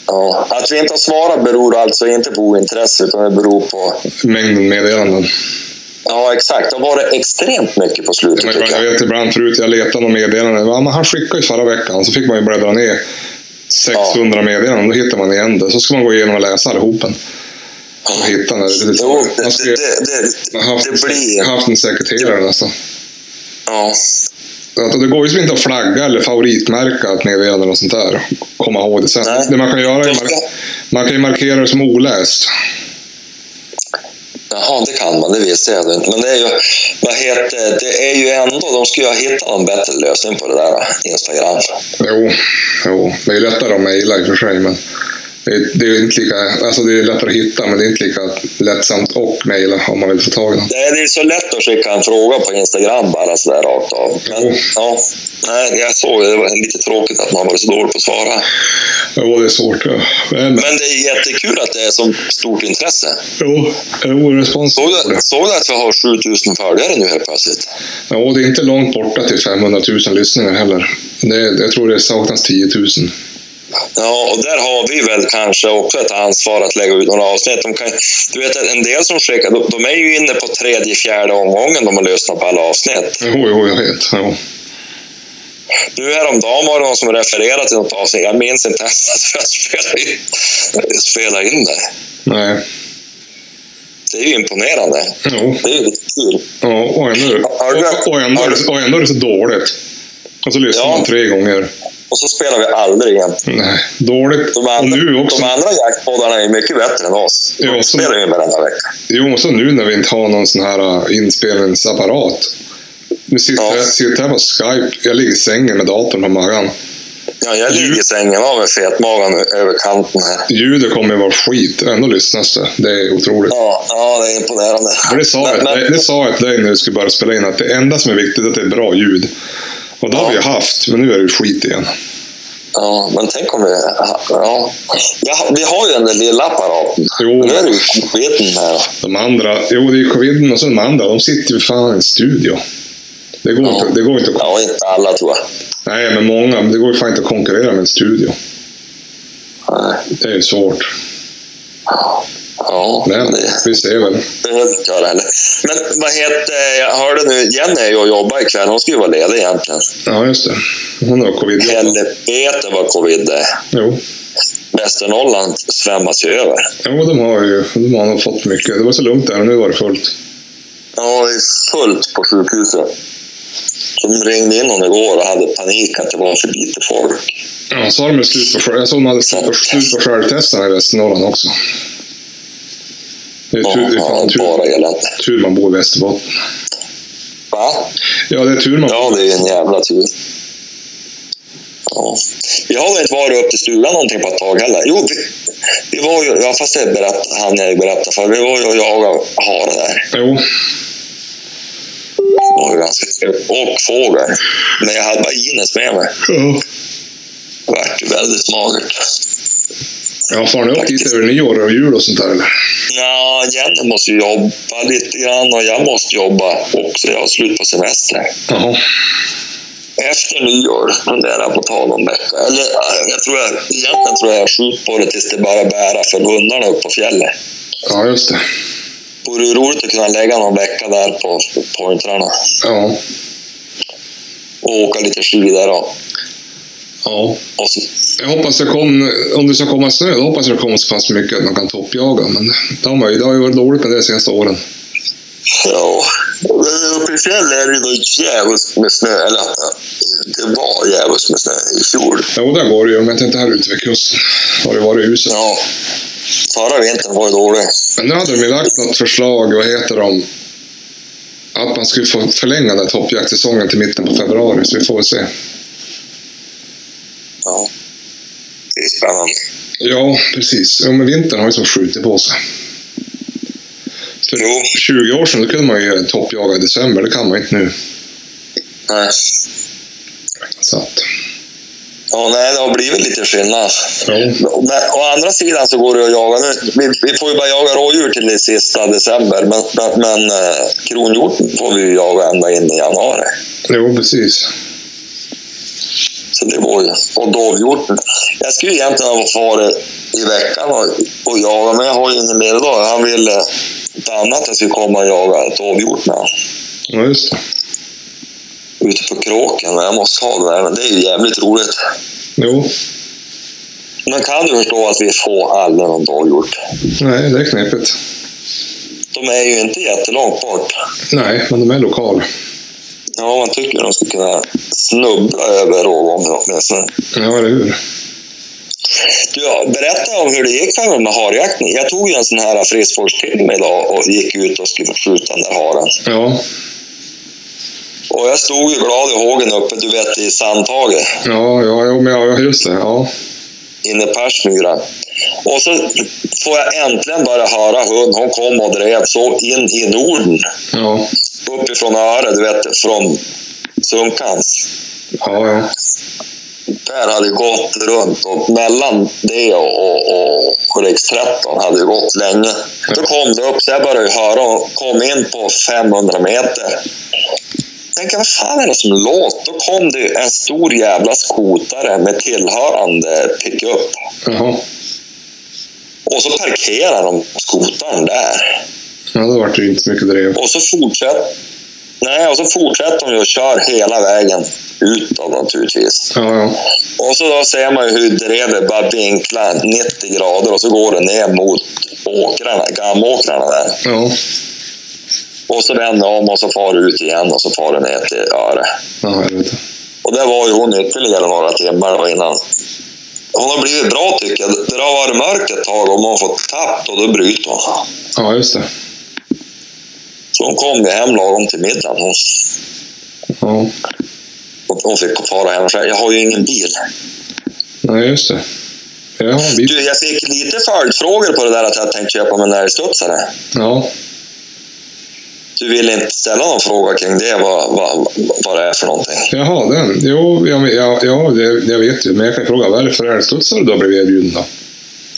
Ja. Att vi inte har svarat beror alltså inte på ointresse, utan det beror på... Mängden meddelanden. Ja, exakt. Det har varit extremt mycket på slutet. Men tycker jag, jag. vet ibland förut, jag letade någon meddelande. Ja, men han skickade ju förra veckan. Så fick man ju bläddra ner 600 meddelanden. Då hittar man igen det. Så ska man gå igenom och läsa allihopen. Och hitta när det, Jo, det, man det, skulle det, det, haft, det blir... haft en sekreterare nästan. Ja. Alltså, det går ju som inte att flagga eller favoritmärka ett meddelande och sånt där. Komma ihåg det sen. Nej. Det man kan göra är mar- man kan ju markera det som oläst. Jaha, det kan man, det visste jag inte. Men det är ju, vad heter, det är ju ändå, de skulle ju ha hittat någon bättre lösning på det där Instagram. Jo, jo. det är ju lättare om jag gillar i och för sig. Men det är, det är ju inte lika, alltså det är lättare att hitta, men det är inte lika lättsamt och mejla om man vill få tag i den. Det är det är så lätt att skicka en fråga på Instagram bara sådär rakt av. Men Mm. ja, nej, jag såg det, det var lite tråkigt att man var så dålig på att svara. Jo, det är svårt. Ja. Men, Men det är jättekul att det är så stort intresse. jo, jo, responsen. Såg du, såg du att vi har 7000 följare nu helt plötsligt? Jo, det är inte långt borta till 500 000 lyssningar heller. Det, jag tror det saknas 10 000. Ja, och där har vi väl kanske också ett ansvar att lägga ut några avsnitt. De kan, du vet, en del som skickar, de, de är ju inne på tredje, fjärde omgången de har lyssnat på alla avsnitt. Jo, jo, jag vet. Jo. Nu häromdagen var det någon som refererade till något avsnitt. Jag minns inte ens att jag spelade in, spelade in det. Nej. Det är ju imponerande. Jo. Det är ju lite kul. Ja, och ändå, är det- Har du- och, och, ändå, är det- och ändå är det så dåligt. Och så lyssnar Ja. man tre gånger. Och så spelar vi aldrig igen. Nej, dåligt. De Och andra, nu de också. andra jaktpoddarna är ju mycket bättre än oss. Ja, De så- spelar ju varenda vecka. Jo, och så nu när vi inte har någon sån här äh, inspelningsapparat. Nu sitter, Ja. jag, sitter jag på Skype. Jag ligger i sängen med datorn på magen. Ja, jag ligger i sängen av med fetmagen över kanten här. Ljudet kommer ju vara skit. Ändå lyssnas det. Det är otroligt. Ja, ja, det är imponerande. För det sa, jag, men, till dig- det sa jag till dig när vi skulle börja spela in. Att det enda som är viktigt är att det är bra ljud. Och det har Ja. vi ju haft. Men nu är det ju skit igen. ja, men tänk om vi... Ja. Ja, vi har ju den där lilla apparaten. Jo, Nu är det men ju skiten här. de andra. Jo, det är ju coviden och så de andra. De sitter ju fan i en studio. Det går, Ja. inte, det går inte att Ja, inte alla tror jag. Nej, men många. Det går ju fan inte att konkurrera med en studio. Nej. Det är ju svårt. Ja, Men det vi ser väl. behöver vi inte göra heller. Men vad heter... Jag hörde nu, Jenny är ju och jobbar ikväll. Hon skulle ju vara ledig egentligen. Ja, just det. Hon har covid. Helvete vad covid det är. Jo. Västernorrland svämmas ju över. jo, de har ju de har nog fått mycket. Det var så lugnt där och nu var det fullt. Ja, det är fullt på sjukhuset. De ringde in honom igår och hade panik att det var för lite folk. Ja, så har de ju slut på själv- Jag såg de hade slut på, slut på självtesterna i Västernorrland också. Det är Ja, tur, det är ja, fan tur, bara elände. tur man bor i Västerbotten. Va? Ja, det är tur man Ja, det är ju en jävla tur. Ja. Vi har väl inte varit upp i stugan någonting på ett tag heller. Jo, vi, vi var ju, ja, fast det berätt, han jag berätta för. Vi var ju och jagade hare där. Jo. Det var ju ganska trevligt. Och fågel. Men jag hade bara Ines med mig. Ja. Det vart ju väldigt magert. Ja, far ni upp dit över nyår och jul och sånt där eller? Nja, Jenny måste ju jobba lite grann och jag måste jobba också. Jag har slut på semester. Jaha. Efter nyår funderar jag på att ta någon vecka. Eller eh, jag tror jag, egentligen tror jag jag skjuter på det tills det bara bärar för hundarna upp på fjället. Ja, just det. Vore ju roligt att kunna lägga någon vecka där på pointrarna Ja. och åka lite skidor och, Ja. och så, Jag hoppas det kom, om det ska komma snö, då hoppas jag det kommer så pass mycket att man kan toppjaga. Men det har, man ju, det har ju varit dåligt med det de senaste åren. ja. Men Uppe i fjällen är det då djävulskt med snö. Eller eh, det var djävulskt med snö i fjol. Jo, där går det ju, men inte här ute vid kusten. Har det varit uselt. Ja. Förra vintern var ju dålig. Men nu hade de ju lagt något förslag, vad heter de? Att man skulle få förlänga den här toppjaktsäsongen till mitten på februari, så vi får väl se. Ja. Det är spännande. Ja, precis. Ja, men vintern har ju som skjutit på sig. För Jo. 20 år sedan då kunde man ju toppjaga i december, det kan man inte nu. Nej. Så att, Ja, nej, det har blivit lite skillnad. ja. Men å andra sidan så går det att jaga. Nu, vi, vi får ju bara jaga rådjur till den sista december, men, men, men eh, kronhjorten får vi ju jaga ända in i januari. Jo, precis. Så det går ju. Och dovhjorten. Jag skulle ju egentligen ha varit i veckan och, och jaga, men jag har ju ingen mer idag. Han ville inte annat att jag skulle komma och jaga dovhjort med honom Ja, just det. ute på kråken. Men jag måste ha det där. Men det är ju jävligt roligt. Jo, Men kan du förstå att vi får aldrig någon dovhjort? nej, det är knepigt. De är ju inte jättelångt bort. Nej, men de är lokal. Ja, man tycker de skulle kunna snubbla över rågången åtminstone. Ja, eller hur? Du, ja, berätta om hur det gick för mig med harjakten. Jag tog ju en sån här friskvårdstimme idag och gick ut och skulle skjuta den där haren. Ja, Och jag stod ju glad i hågen uppe, du vet, i Sandhaget, ja, ja, ja, men ja, ja, just det. Ja, inne i Persmyra. Och så får jag äntligen börja höra hund. Hon kom och drev så in i Norden, ja, uppifrån Öre, du vet, från Sunkans. ja, ja. där hade gått runt och mellan det och, och, och, och riks 13 hade det gått länge. Då kom det upp, så jag började höra och kom in på 500 meter. Tänkte, vad fan är det som låter? Då kom det en stor jävla skotare med tillhörande pickup. Jaha. Och så parkerar de skotaren där. Ja, då vart det ju inte mycket drev. Och så fortsätter Nej, och så fortsätter de ju och kör hela vägen utåt naturligtvis. Ja, ja. Och så då ser man ju hur drevet bara vinklar 90 grader och så går det ner mot åkrarna, gammåkrarna där. Ja, Och så vänder om och så far det ut igen och så far det ner till Öre. ja helvete. Och där var ju hon ytterligare några timmar då innan. Hon har blivit bra tycker jag. Det har varit mörkt ett tag om hon fått tappt och då bryter hon. Ja, just det. Så hon kom ju hem lagom till middagen. Hon, Ja, hon fick fara hem själv. Jag har ju ingen bil. nej, just det. Jag har en bit. Du, jag fick lite följdfrågor på det där att jag tänkte köpa mig en älgstudsare. Ja, Du vill inte ställa någon fråga kring det, vad, vad, vad det är för någonting? jaha, den. Jo, ja, men- ja, ja det, det vet ju. Men jag kan fråga, vad är det för älgstudsare du har blivit erbjuden då?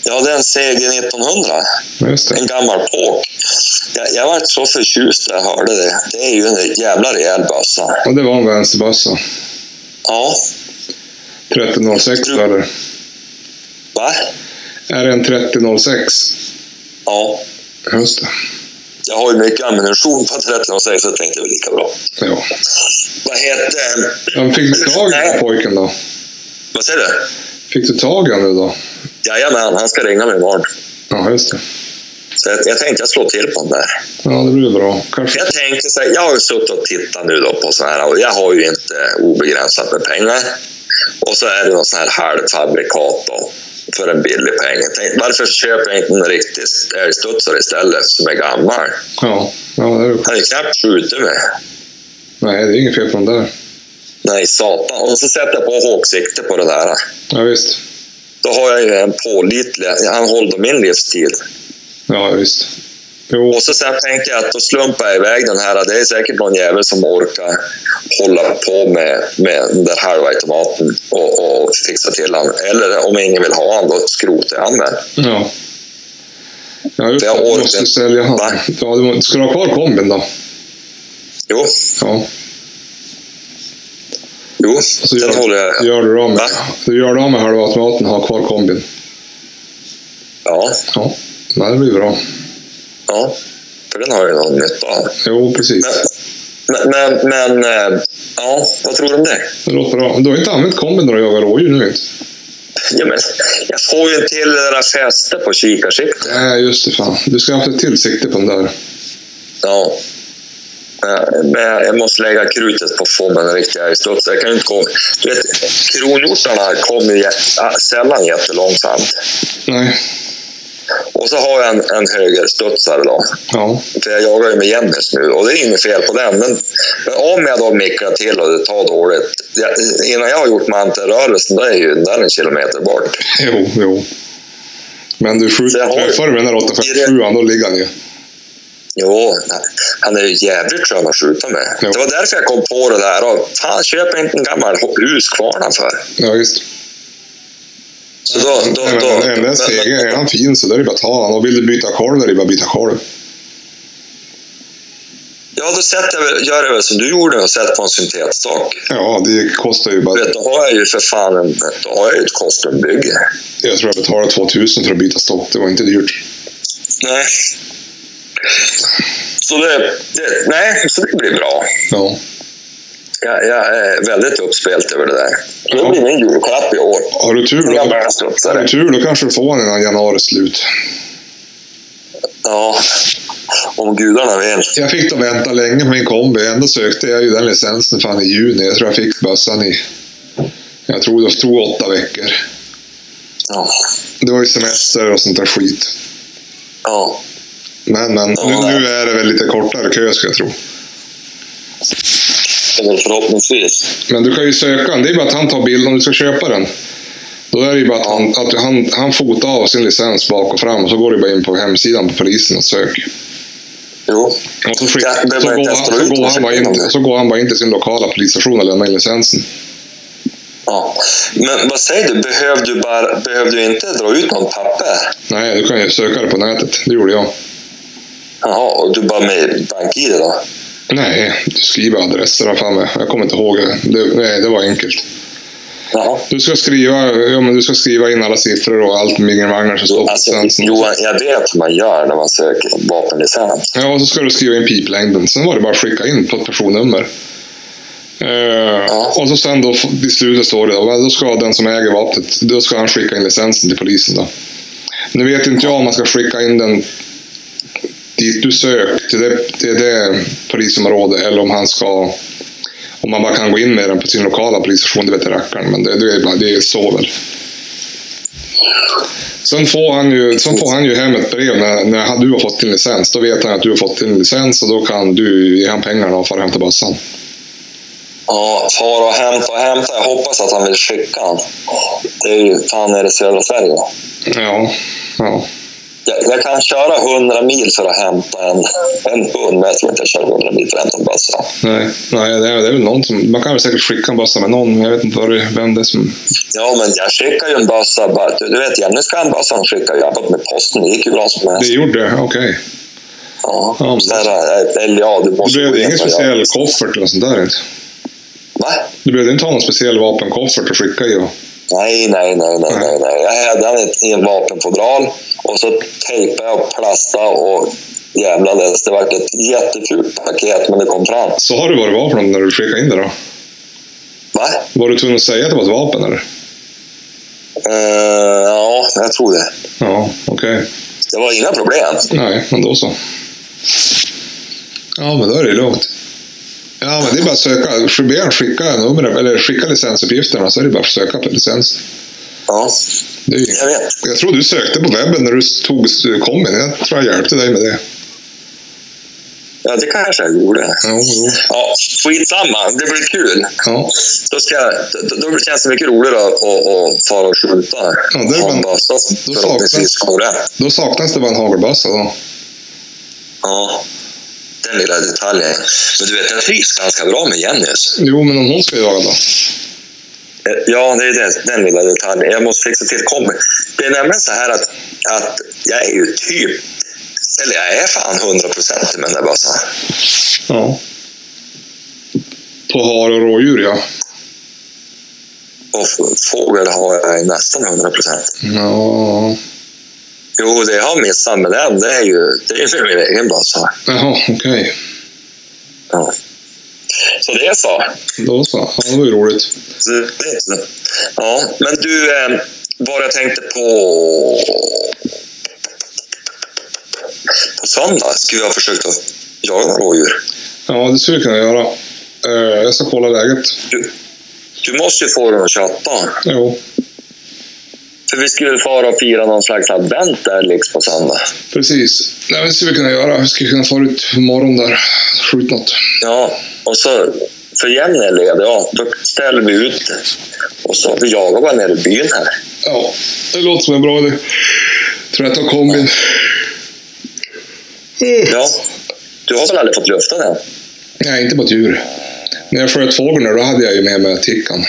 Ja, det är en CG 1900, Ja, just det. en gammal påk. Jag, jag var så förtjust när jag hörde det. Det är ju en jävla rejäl bössa. Och det var en vänsterbössa. Ja, 3006 då, eller? va? Är det en 3006? Ja, Just det. jag har ju mycket ammunition på 1306 så jag tänkte det var lika bra. Ja. Vad heter... ja fick du tag i den här pojken då? Vad säger du? Fick du tag i honom då? Jajamän, han ska ringa mig imorgon. Ja, just det. Så jag, jag tänkte jag slår till på den där. Ja, det blir bra. Kanske. Jag tänkte så här, jag har ju suttit och tittat nu då på så här och jag har ju inte obegränsat med pengar. Och så är det något sån här halvfabrikat då, för en billig peng. Jag tänkte, varför köper jag inte en riktig älgstudsare istället som är gammal? Ja, ja det är Han har ju knappt skjutit med. Nej, det är inget fel på den där. Nej, satan. Och så sätter jag på hågsikte på det där. Ja, visst. Då har jag ju en pålitlig, han håller min livstid. Ja, visst. Jo, Och så sen tänkte jag att då slumpar jag iväg den här. Det är säkert någon jävel som orkar hålla på med, med den där halva automaten och, och fixa till han. Eller om ingen vill ha han, då skrotar jag han med. ja. Ja, just Det har det. Du året- måste sälja han. Va? Ja, du må- ska du ha kvar kombin då? Jo, Ja. jo Så den gör, håller jag. gör du av med, Va? du gör du av med halva automaten och har kvar kombin. Ja, Ja, Nej, det blir bra. ja. För den har jag ju någon nytta av. Jo, precis. Men, men, men eh, ja, vad tror du om det? Det låter bra. Du har inte använt kombin när du jagar rådjur nu inte? Ja, men, jag får ju inte till det där fästet på kikarsiktet. Nej, just det. Fan. Du ska ha haft ett till sikte på den där. Ja. Eh, Men jag måste lägga krutet på att få mig en riktig älgstuds. Jag kan ju inte gå... Du vet, kronhjortarna kommer ju jä- ah, sällan jättelångsamt. Nej. Och så har jag en, en högerstudsare då. Ja. För jag jagar ju med jämnis nu och det är inget fel på den. Men, men om jag då mickar till och det tar dåligt. Jag, innan jag har gjort mantelrörelsen, då är ju den där en kilometer bort. Jo, jo. Men du Så jag skjuter har ju- träffar du med den där 857 då ligger han ju. Jo, han är ju jävligt skön att skjuta med. Jo. Det var därför jag kom på det där. Och, fan, köp inte en gammal huskvarna för. Ja, visst. Så då, då, Nej, då, men, men, men- seger, är han fin så då är det bara att ta han. Och vill du byta kolv, då är det bara att byta kolv. ja, då sätter jag, väl- gör jag väl som du gjorde och sätter på en syntetstak. Ja, det kostar ju bara... Du vet, då har jag ju för fan en, då har jag ju ett kostumbygge. Jag tror jag betalade 2000 för att byta stock. Det var inte dyrt. Nej. Så det, det, nej, så det blir bra. Ja. Jag, jag är väldigt uppspelt över det där. Det blir min julklapp i år. Har du tur En då, gammal har du strutsare. tur, då kanske du får han innan januari är slut. Ja, om gudarna vill. Jag fick då vänta länge på min kombi. Ändå sökte jag ju den licensen fan i juni. Jag tror jag fick bössan i... Jag tror det tog åtta veckor. Ja. Det var ju semester och sånt där skit. ja. Men, men. Ja. Nu, nu är det väl lite kortare kö ska jag tro. Eller förhoppningsvis. Men du kan ju söka den. Det är bara att han tar bild om du ska köpa den. Då är det ju bara att, han, att han, han fotar av sin licens bak och fram och så går du bara in på hemsidan på polisen och sök. Jo. Och så, Ja, skickar, det så, var går, inte han, efter så, ut, går han bara in, ursäkta. så går han bara in till sin lokala polisstation och lämnar in licensen. Ja. Men vad säger du, behövde du, bara, behövde du inte dra ut någon papper? Nej, du kan ju söka det på nätet. Det gjorde jag. Jaha, och du bara med bank-id då? Nej, du skriver adresser. vad Fan med. Jag kommer inte ihåg. Det, Det- nej, det var enkelt. Jaha. Du ska skriva, ja, men du ska skriva in alla siffror och allt mingel som står på Alltså, licensen. Johan, jag vet hur man gör när man söker vapenlicens. Ja, och så ska du skriva in piplängden. Sen var det bara att skicka in på ett personnummer. Eh, Och så sen då f- i slutet står det då, va, då ska den som äger vapnet, då ska han skicka in licensen till polisen då. Nu vet inte jag om man ska skicka in den dit du sökt, till det, till det polisområdet, eller om han ska om man bara kan gå in med den på sin lokala polisstation, det vet jag rackaren. Men det, det, är bara, det är så väl. Sen får han ju, sen får han ju hem ett brev när, när han- du har fått din licens. Då vet han att du har fått din licens och då kan du ge han pengarna och fara och hämta bössan. Ja, far och hämta och hämta. Jag hoppas att han vill skicka han. Det är ju, fan är det södra Sverige? Ja, ja. Jag, jag kan köra 100 mil för att hämta en, en hund, men jag tror inte jag kör 100 mil för att hämta en bössa. Nej, nej det, är, det är väl någon som... Man kan väl säkert skicka en bössa med någon, men jag vet inte vad det, vem det är som... Ja, men jag skickar ju en bössa. bara- Du, du vet, Jämniskan-bössan skickade jag på med posten. Det gick ju bra som Det helst. gjorde det? Okej. Ja. Ja, men- Så här, eh, eller ja, du måste Du gå behövde in ingen och göra- speciell koffert eller något sånt där inte? Va? Du behövde inte ha någon speciell vapenkoffert att skicka i? Och... Nej, nej, nej, nej, nej, nej. Jag hädade den i en vapenfodral och så tejpade jag och plastade och jävlades. Det var ett jättefult paket, men det kom fram. Så har du vad det var för någon när du skickade in det då? Va? Var du tvungen att säga att det var ett vapen eller? Eh, ja, jag tror det. Ja, okej. Det var inga problem. Nej, men då så. Ja, men då är det lugnt. Ja, men det är bara att söka. Be han skicka numret, eller skicka licensuppgifterna så är det bara att söka på licens. Ja, Det är ju... jag vet. Jag tror du sökte på webben när du tog kombin. Jag tror jag hjälpte dig med det. Ja, det kanske jag gjorde. Jo, jo. Ja, skitsamma, det blir kul. Ja. Då, ska, jag- då, då känns det mycket roligare att, att, att fara och skjuta. Ja, det är väl- Hanbasta, då förhoppningsvis går det. Då saknas det bara en hagelbössa då. Ja, den lilla detaljen. Men du vet, jag trivs ganska bra med Jennys. Jo, men om hon ska jaga då? Eh, Ja, det är det, den lilla detaljen. Jag måste fixa till kombi. Det är nämligen så här att, att jag är ju typ... Eller jag är fan 100 procent med den där bössan. Ja. På hare och rådjur, ja. Och f- fågel har jag nästan 100 procent. Ja. Jo, det jag har missat med den, det är ju det är ju min egen bössa. Jaha, okej. Ja. Så det är så. Då så. Ja, det var ju roligt. Så det är så. Ja, men du, eh, vad jag tänkte på... På söndag skulle jag ha försökt att jaga några rådjur. Ja, det skulle vi kunna göra. Eh, Jag ska kolla läget. Du måste ju få dem att köpa. Jo, För vi skulle fara och fira någon slags advent där liksom på söndag. precis. Nej, men det skulle vi kunna göra. Vi skulle kunna fara ut imorgon där. Skjut något. Ja, och så för Jenny är ledig, ja, då ställer vi ut och så vi jagar bara nere i byn här. Ja, det låter som en bra idé. Tror jag tar kombin. Mm. Ja. Du har väl aldrig fått lufta den? Nej, inte på ett djur. När jag sköt fågeln då hade jag ju med mig tickan.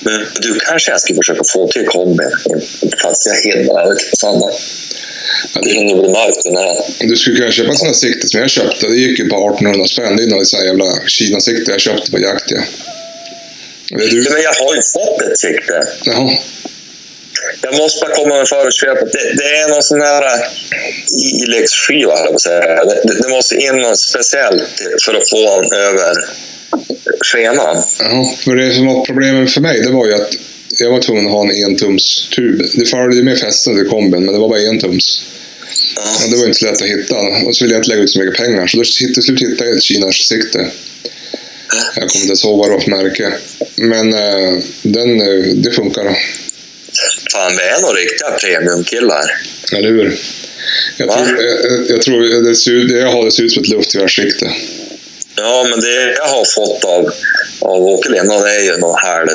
Men du kanske jag ska försöka få till kombin. Fast jag hinner aldrig på söndag. Ja, Det det- hinner bli mörkt den här. Du skulle kunna köpa en sån här sikte som jag köpte. Det gick ju på 1800 spänn. Det är någon sån här jävla Kina-sikte jag köpte på jakt. Ja. Det är du. Men jag har ju fått ett sikte. Jaha. Jag måste bara komma med förespelet. Det, det är någon sån här eh, ilexskiva, höll jag på att säga. Det, det, det måste in något speciellt för att få honom över scheman. Ja, för det som var problemet för mig, det var ju att jag var tvungen att ha en entumstub. Det följde med fästen till kombin, men det var bara entums. Ja. Och det var inte så lätt att hitta. Och så ville jag inte lägga ut så mycket pengar, så då hitt- till slut hittade jag ett Kinas-sikte. Jag kommer inte ens ihåg vad det var för märke. Men eh, den, eh, det funkar. då. Fan, vi är nog riktiga premiumkillar. Eller hur? Jag Va? tror, jag, jag- jag tror det, ser ut, det jag har det ser ut som ett luftgevärssikte. Ja, men det jag har fått av, av Åke Lindholm är ju någon halv,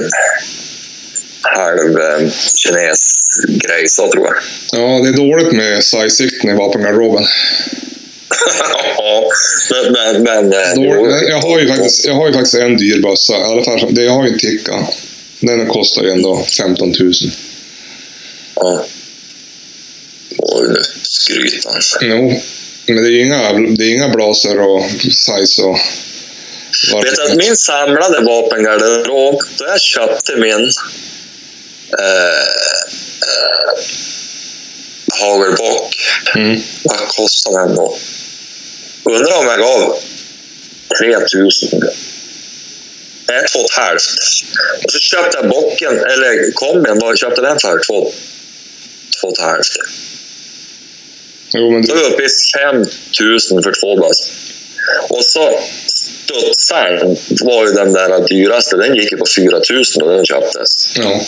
halv eh, kines-grej, så tror jag. Ja, det är dåligt med size-sikten i vapengarderoben. ja, men... men, men eh, Då, jo. jag, har ju faktiskt, jag har ju faktiskt en dyr bössa. I alla fall, det, jag har ju en Ticka. Den kostar ju ändå 15 000. Ja. Oj, nu skryter han. Jo, men det är ju inga, det är inga blaser och size och... vad det Vet du är. att min samlade vapengarderob, då jag köpte min eh, eh, hagelbock, Mm. vad kostade den då? Undrar om jag gav 3000. Nej, två och ett halvt. Och så köpte jag bocken, eller kombin, vad köpte den för? Två, två och ett halvt. Jo, men Då det, är vi uppe i 5000 för två bass. Och så studsaren var ju den där dyraste. Den gick ju på 4000 och den köptes. ja.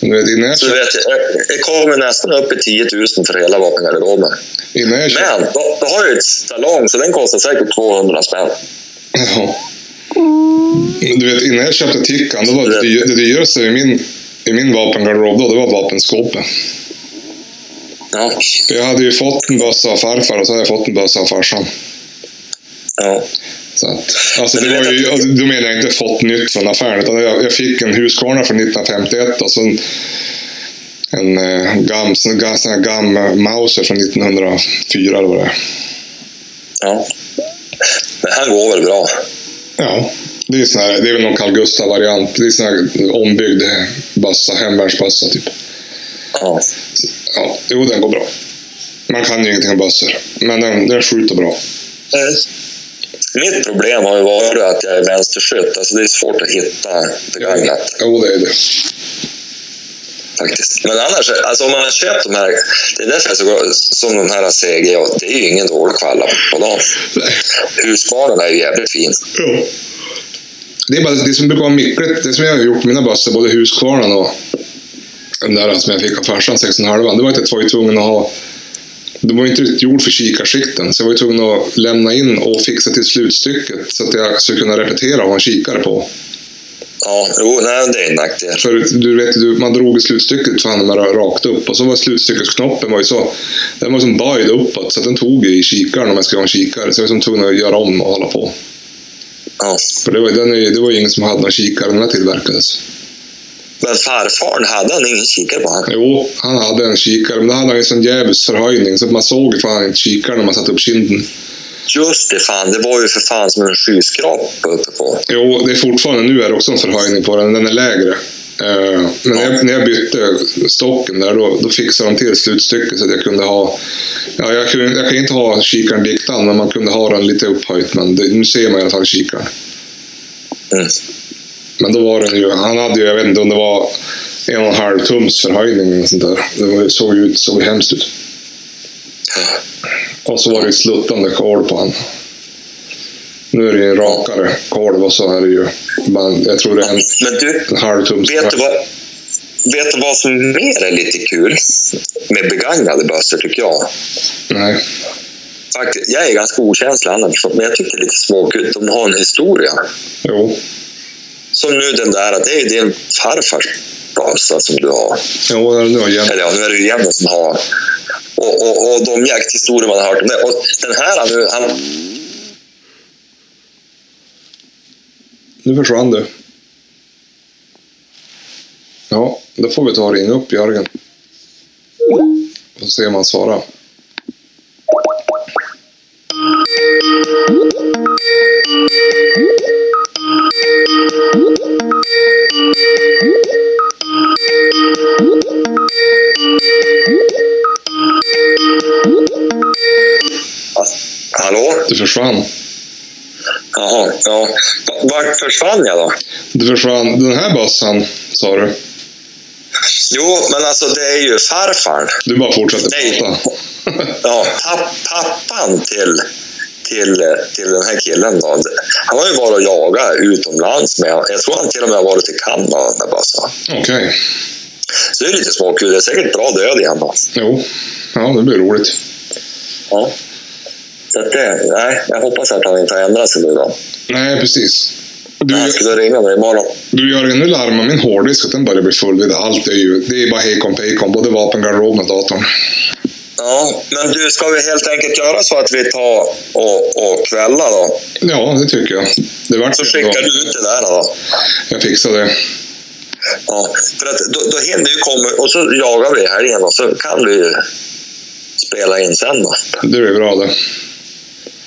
Men du vet, innan jag, Så du köpte, vet, jag- jag kommer nästan upp i 10 000 för hela vapengarderoben. innan jag köpte, Men då, då har jag ju ett salong, så den kostar säkert 200 spänn. ja. Men du vet, innan jag köpte Tickan, då var det, dy- det dyraste i min, i min vapengarderob då, det var vapenskåpet. Ja, För Jag hade ju fått en bössa av farfar och så hade jag fått en bössa av farsan. ja. Så att, alltså Men det du var vet ju, att- alltså, då menar jag inte fått nytt från affären, utan jag, jag fick en Husqvarna från 1951 och så en, en eh, gam, sån gam, sån här gam eh, Mauser från 1904 eller vad det är. ja. Men han går väl bra? Ja, det är, sån här, det är väl någon Carl Gustaf-variant. Det är sån här ombyggd bassa, hemvärnsbössa typ. Ja. Ja, jo den går bra. Man kan ju ingenting om bössor, men den, den skjuter bra. Mitt problem har ju varit att jag är vänsterskytt. Alltså det är svårt att hitta begagnat. Jo, det är det. faktiskt. Men annars, alltså om man har köpt de här, det är därför jag så går, som de här CG, och det är ju ingen dålig kvalla på dem. Nej. Husqvarnan är ju jävligt fin. Ja. Det är bara det som brukar vara mycket, det som jag har gjort med mina bössor, både Husqvarnan och den där som jag fick av farsan, 6,5. Det var att jag var ju tvungen att ha Det var ju inte riktigt gjord för kikarsikten, så jag var ju tvungen att lämna in och fixa till slutstycket så att jag skulle kunna repetera vad han kikade på. Ja, jo, nej, det är en nackdel. För du vet, du- man drog i slutstycket fan med rakt upp och så var slutstyckesknoppen var ju så, den var som böjd uppåt så att den tog ju i kikaren om jag skulle ha en kikare. Så jag var som tvungen att göra om och hålla på. Ja. För det var, den är, ju- det var ju ingen som hade någon kikare när den här tillverkades. Men farfarn, hade han ingen kikare på han? Jo, han hade en kikare, men då hade han ju sån djävulsförhöjning så att man såg ju fan inte kikaren när man satte upp kinden. Just det, fan. Det var ju för fan som en skyskrapa uppe på. Jo, det är fortfarande, nu är det också en förhöjning på den, den är lägre. Eh, Men när jag, när jag bytte stocken där, då, då fixade de till slutstycket så att jag kunde ha... Ja, jag, kunde, jag kan inte ha kikaren diktad, men man kunde ha den lite upphöjt. Men det, nu ser man i alla fall kikaren. Mm. Men då var den ju... Han hade ju, jag vet inte om det var en och en halv tums förhöjning eller sånt där. Det var- såg ju ut, såg hemskt ut. Och så var det ju ett sluttande kolv på han. Nu är det ju en rakare kolv och så är det ju... Man, jag tror det är en, Men du, en halv tums vet du vad? Vet du vad som mer är lite kul med begagnade bössor, tycker jag? Nej. Faktiskt, jag är ganska okänslig annars, men jag tycker det är lite småkul. De har en historia. Jo. Som nu den där, det är ju din farfars bössa som du har. Jo, det är nog jämnt. Eller ja, nu är det ju Jenny som har. Och, och, och de jakthistorier man har hört om det. Och den här nu, han, Nu försvann du. Ja, då får vi ta och ringa upp Jörgen. Och se om han svarar. ah, hallå? Du försvann. Jaha, ja. Va- Vart försvann jag då? Du försvann. Den här bössan, sa du. Jo, men alltså det är ju farfar. Du bara fortsatte Nej. prata. Ja, papp, pappan till, till, eh, till den här killen då. Han har ju varit och jagat utomlands med. Jag tror han till och med har varit till Kanada med bössan. Okej. Så det är lite småkul. Det är säkert bra död i han då. Jo. Ja, det blir roligt. Ja. Så att det, nej, jag hoppas att han inte har ändrat sig nu då. Nej, precis. Du, Han skulle ringa mig imorgon. du Jörgen, nu larmar min hårddisk att den börjar bli full vid allt. Det är ju det är bara hejkon pejkon, både vapengarderoben och datorn. Ja, men du, ska vi helt enkelt göra så att vi tar och, och kvällar då? Ja, det tycker jag. Det vart Så ju ändå- skickar du ut det där då. Jag fixar det. Ja, för att då, då hinner du komma och så jagar vi i helgen och så kan du ju spela in sen då. Det blir bra det.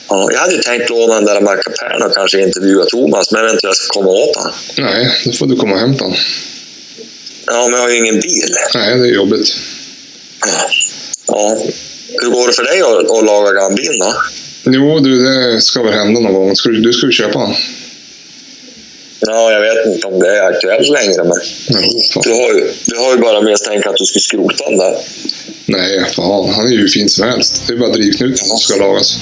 Ja, jag hade ju tänkt låna den där mackapären och kanske intervjua Thomas, men jag vet inte hur jag ska komma åt honom. Nej, då får du komma och hämta den. Ja, men jag har ju ingen bil. Nej, det är jobbigt. Ja. Hur går det för dig att, att laga gambin då? Jo, du, det ska väl hända någon gång. Ska du, du ska ju köpa den. Ja, jag vet inte om det är aktuellt längre, men Jo, fan. du har ju, du har ju bara misstänkt att du skulle skrota den där. Nej, fan. Han är ju hur fin som helst. Det är bara drivknuten som ska lagas.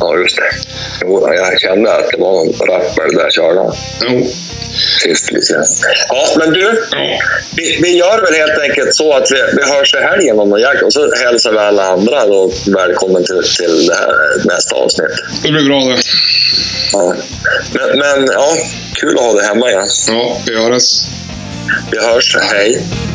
Ja, just det. Jo, jag kände att det var en rappare där körde Jo. sist vi ses. Ja, men du, Ja. vi, vi gör väl helt enkelt så att vi, vi hörs i helgen om någon jakt och så hälsar vi alla andra då välkommen till, till det här nästa avsnitt. Det blir bra det. Ja. Men, men ja, kul att ha dig hemma igen. Ja, vi hörs. Vi hörs, hej!